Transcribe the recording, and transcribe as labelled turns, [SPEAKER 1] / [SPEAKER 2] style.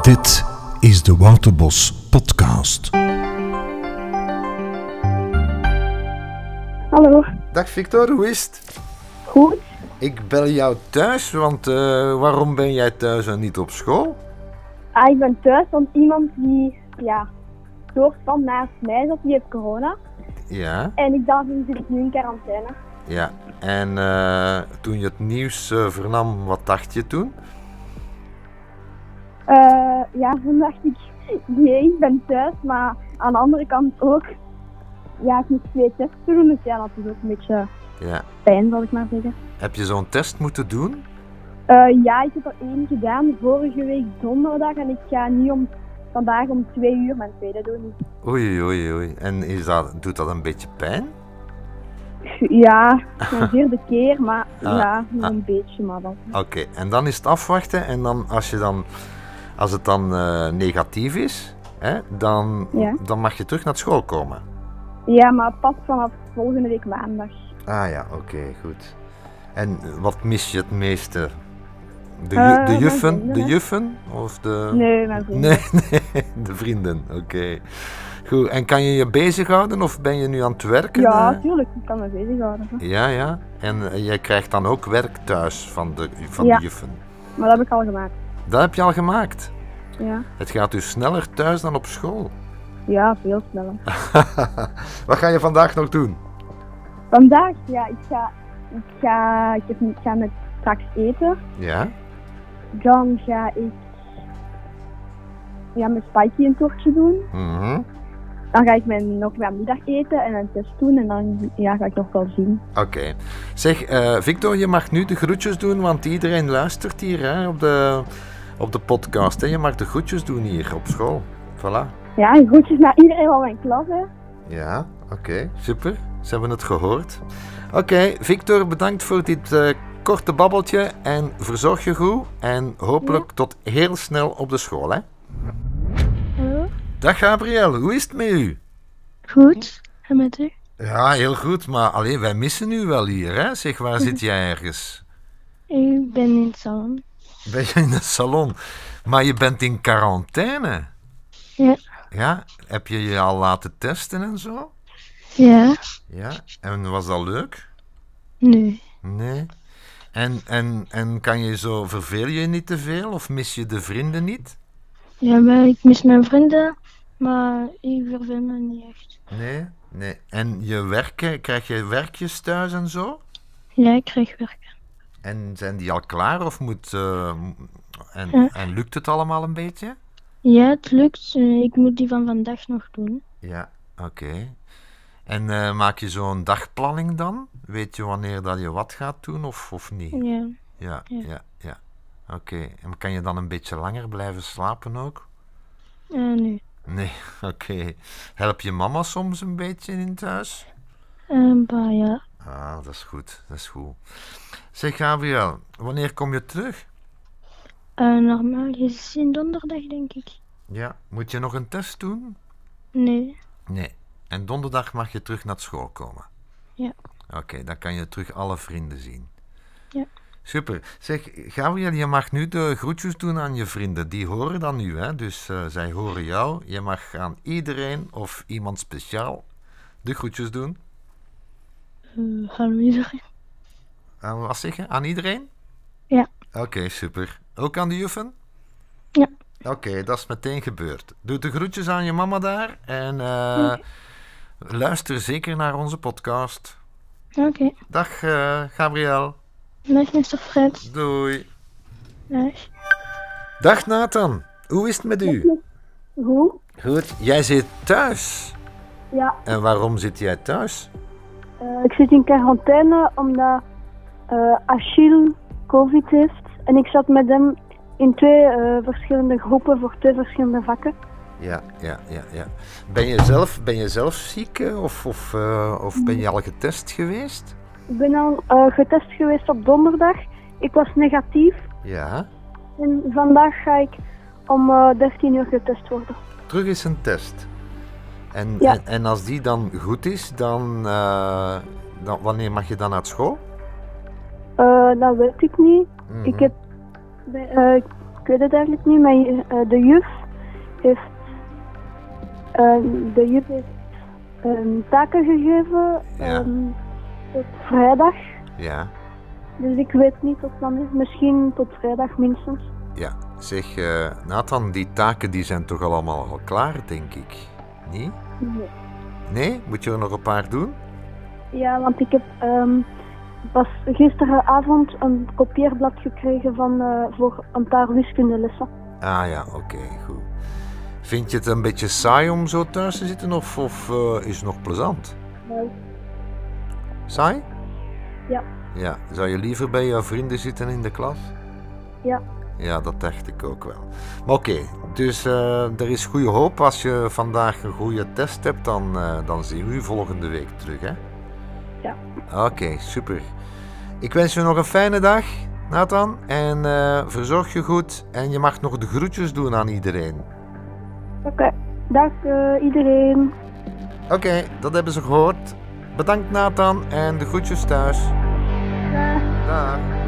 [SPEAKER 1] Dit is de Wouterbos Podcast.
[SPEAKER 2] Hallo,
[SPEAKER 3] Dag Victor, hoe is het?
[SPEAKER 2] goed.
[SPEAKER 3] Ik bel jou thuis, want eh, waarom ben jij thuis en niet op school?
[SPEAKER 2] Ah, ik ben thuis, want iemand die ja, soort van naast mij zat, die heeft corona.
[SPEAKER 3] Ja,
[SPEAKER 2] En ik daarom zit ik nu in quarantaine.
[SPEAKER 3] ja. En eh, toen je het nieuws eh, vernam, wat dacht je toen?
[SPEAKER 2] Eh, ja, toen dacht ik, jee, ik ben thuis, maar aan de andere kant ook. Ja, ik moet twee testen doen, dus ja, dat is ook een beetje
[SPEAKER 3] Ja.
[SPEAKER 2] pijn, zal ik maar zeggen.
[SPEAKER 3] Heb je zo'n test moeten doen?
[SPEAKER 2] Eh, ja, ik heb er één gedaan vorige week donderdag en ik ga nu om, vandaag om twee uur mijn tweede doen.
[SPEAKER 3] Oei, oei, oei. En is dat, doet dat een beetje pijn?
[SPEAKER 2] Ja, mijn vierde keer, maar
[SPEAKER 3] Ah,
[SPEAKER 2] ja, nog een beetje, maar dan.
[SPEAKER 3] Oké, en dan is het afwachten. En dan als, je dan, als het dan eh, negatief is, hè, dan,
[SPEAKER 2] Ja.
[SPEAKER 3] dan mag je terug naar school komen.
[SPEAKER 2] Ja, maar pas vanaf volgende week maandag.
[SPEAKER 3] Ah ja, oké, goed. En wat mis je het meeste? De, ju-
[SPEAKER 2] Eh,
[SPEAKER 3] de
[SPEAKER 2] mijn
[SPEAKER 3] juffen? De
[SPEAKER 2] vrienden.
[SPEAKER 3] juffen? Of de...
[SPEAKER 2] Nee, mijn vrienden.
[SPEAKER 3] Nee, nee, de vrienden, oké. Goed, en kan je je bezighouden of ben je nu aan het werken?
[SPEAKER 2] Ja,
[SPEAKER 3] Eh,
[SPEAKER 2] tuurlijk, ik kan me bezighouden. hè.
[SPEAKER 3] Ja, ja. En eh, jij krijgt dan ook werk thuis van, de, van
[SPEAKER 2] Ja.
[SPEAKER 3] de juffen.
[SPEAKER 2] Maar dat heb ik al gemaakt.
[SPEAKER 3] Dat heb je al gemaakt.
[SPEAKER 2] Ja,
[SPEAKER 3] Het gaat dus sneller thuis dan op school.
[SPEAKER 2] ja veel sneller.
[SPEAKER 3] wat ga je vandaag nog doen?
[SPEAKER 2] Vandaag, ja, ik ga, ik ga, ik heb, ik ga met straks eten.
[SPEAKER 3] Ja?
[SPEAKER 2] Dan ga ik ja, met Spikey een tochtje doen.
[SPEAKER 3] Mhm.
[SPEAKER 2] Dan ga ik mijn, nog mijn middageten en een test doen. En dan ja, ga ik nog wel zien.
[SPEAKER 3] Oké. Zeg, eh, Victor, je mag nu de groetjes doen, want iedereen luistert hier hè, op, de, op de podcast. Hè. Je mag de groetjes doen hier op school. Voilà.
[SPEAKER 2] Ja, en groetjes naar iedereen van mijn klas. hè.
[SPEAKER 3] Ja, oké. Super. Ze hebben het gehoord. Oké, Victor, bedankt voor dit eh, korte babbeltje. En verzorg je goed. En hopelijk tot heel snel op de school. Hè. Dag Gabriel, hoe is het met u?
[SPEAKER 4] Goed, en met u?
[SPEAKER 3] Ja, heel goed. Maar alleen, wij missen u wel hier. Hè? Zeg, waar zit jij ergens?
[SPEAKER 4] Ik ben in het salon.
[SPEAKER 3] Ben je in de salon? Maar je bent in quarantaine.
[SPEAKER 4] Ja.
[SPEAKER 3] Ja? Heb je je al laten testen en zo?
[SPEAKER 4] Ja,
[SPEAKER 3] Ja? En was dat leuk?
[SPEAKER 4] nu.
[SPEAKER 3] Nee. En, en, en kan je zo, verveel je je niet te veel of mis je de vrienden niet?
[SPEAKER 4] Ja, maar ik mis mijn vrienden, maar ik verveel me niet echt.
[SPEAKER 3] Nee? Nee. En je werken, krijg je werkjes thuis en zo?
[SPEAKER 4] Ja, ik krijg werk.
[SPEAKER 3] En zijn die al klaar of moet... eh, m- en,
[SPEAKER 4] Ja.
[SPEAKER 3] en lukt het allemaal een beetje?
[SPEAKER 4] Ja, het lukt. eh, Ik moet die van vandaag nog doen.
[SPEAKER 3] Ja, oké. En eh, maak je zo'n dagplanning dan? Weet je wanneer dat je wat gaat doen of, of niet?
[SPEAKER 4] Ja,
[SPEAKER 3] Ja,
[SPEAKER 4] Ja.
[SPEAKER 3] ja, ja. Oké, en kan je dan een beetje langer blijven slapen ook?
[SPEAKER 4] eh, nu.
[SPEAKER 3] Nee, oké. Help je mama soms een beetje in thuis?
[SPEAKER 4] Eh, bah, ja.
[SPEAKER 3] Ah, dat is goed, dat is goed. Zeg Gabriel, wanneer kom je terug?
[SPEAKER 4] Eh, normaal gezien donderdag, denk ik.
[SPEAKER 3] Ja, moet je nog een test doen?
[SPEAKER 4] Nee.
[SPEAKER 3] Nee. En donderdag mag je terug naar school komen.
[SPEAKER 4] Ja.
[SPEAKER 3] Oké, dan kan je terug alle vrienden zien.
[SPEAKER 4] Ja.
[SPEAKER 3] Super. Zeg, Gabriel, je mag nu de groetjes doen aan je vrienden. Die horen dan nu, hè? Dus eh, zij horen jou. Je mag aan iedereen of iemand speciaal de groetjes doen.
[SPEAKER 4] Eh, hallo iedereen.
[SPEAKER 3] Aan wat zeg je? Aan iedereen?
[SPEAKER 4] Ja.
[SPEAKER 3] Oké, super. Ook aan de juffen?
[SPEAKER 4] Ja.
[SPEAKER 3] Oké, dat is meteen gebeurd. Doe de groetjes aan je mama daar en eh, luister zeker naar onze podcast.
[SPEAKER 4] Oké,
[SPEAKER 3] Dag eh, Gabriel.
[SPEAKER 4] dag Mr. Fred.
[SPEAKER 3] Doei.
[SPEAKER 4] Dag.
[SPEAKER 3] Dag Nathan. Hoe is het met u?
[SPEAKER 2] Goed?
[SPEAKER 3] Goed. Jij zit thuis.
[SPEAKER 2] Ja,
[SPEAKER 3] En waarom zit jij thuis?
[SPEAKER 2] Eh, ik zit in quarantaine omdat eh Achille COVID heeft. En ik zat met hem in twee eh, verschillende groepen voor twee verschillende vakken.
[SPEAKER 3] Ja, ja, ja, ja. Ben je zelf, ben je zelf ziek eh, of, of, eh, of ben je al getest geweest?
[SPEAKER 2] Ik ben al eh, getest geweest op donderdag. Ik was negatief.
[SPEAKER 3] Ja.
[SPEAKER 2] En vandaag ga ik om eh, 13 uur getest worden.
[SPEAKER 3] Terug is een test. En,
[SPEAKER 2] Ja.
[SPEAKER 3] en, en als die dan goed is, dan, eh, dan wanneer mag je dan naar school?
[SPEAKER 2] Eh, dat weet ik niet.
[SPEAKER 3] Mhm.
[SPEAKER 2] Ik heb bij, eh, ik
[SPEAKER 4] weet het eigenlijk niet, maar eh, de juf heeft, ehm, de juf heeft ehm, taken gegeven
[SPEAKER 3] Ja.
[SPEAKER 4] ehm, tot vrijdag.
[SPEAKER 3] Ja,
[SPEAKER 4] Dus ik weet niet tot wanneer, misschien tot vrijdag minstens.
[SPEAKER 3] ja. Zeg, eh, Nathan, die taken die zijn toch al allemaal al klaar, denk ik? Nee? Nee? Moet je er nog een paar doen?
[SPEAKER 4] Ja, want ik heb ehm, pas gisteravond een kopieerblad gekregen van, eh, voor een paar wiskundelessen.
[SPEAKER 3] Ah ja, oké, goed. Vind je het een beetje saai om zo thuis te zitten of, of eh, is het nog plezant?
[SPEAKER 4] Nou,
[SPEAKER 3] Saai?
[SPEAKER 4] Ja.
[SPEAKER 3] Ja, zou je liever bij jouw vrienden zitten in de klas?
[SPEAKER 4] Ja.
[SPEAKER 3] Ja, dat dacht ik ook wel. Maar oké, dus eh, er is goede hoop. Als je vandaag een goede test hebt, dan, eh, dan zien we u volgende week terug, hè?
[SPEAKER 4] Ja.
[SPEAKER 3] Oké, super. Ik wens je nog een fijne dag, Nathan. En eh, verzorg je goed. En je mag nog de groetjes doen aan iedereen.
[SPEAKER 4] Oké, dag eh, iedereen.
[SPEAKER 3] Oké, dat hebben ze gehoord. Bedankt, Nathan. En de groetjes thuis.
[SPEAKER 4] Dag.
[SPEAKER 3] Dag.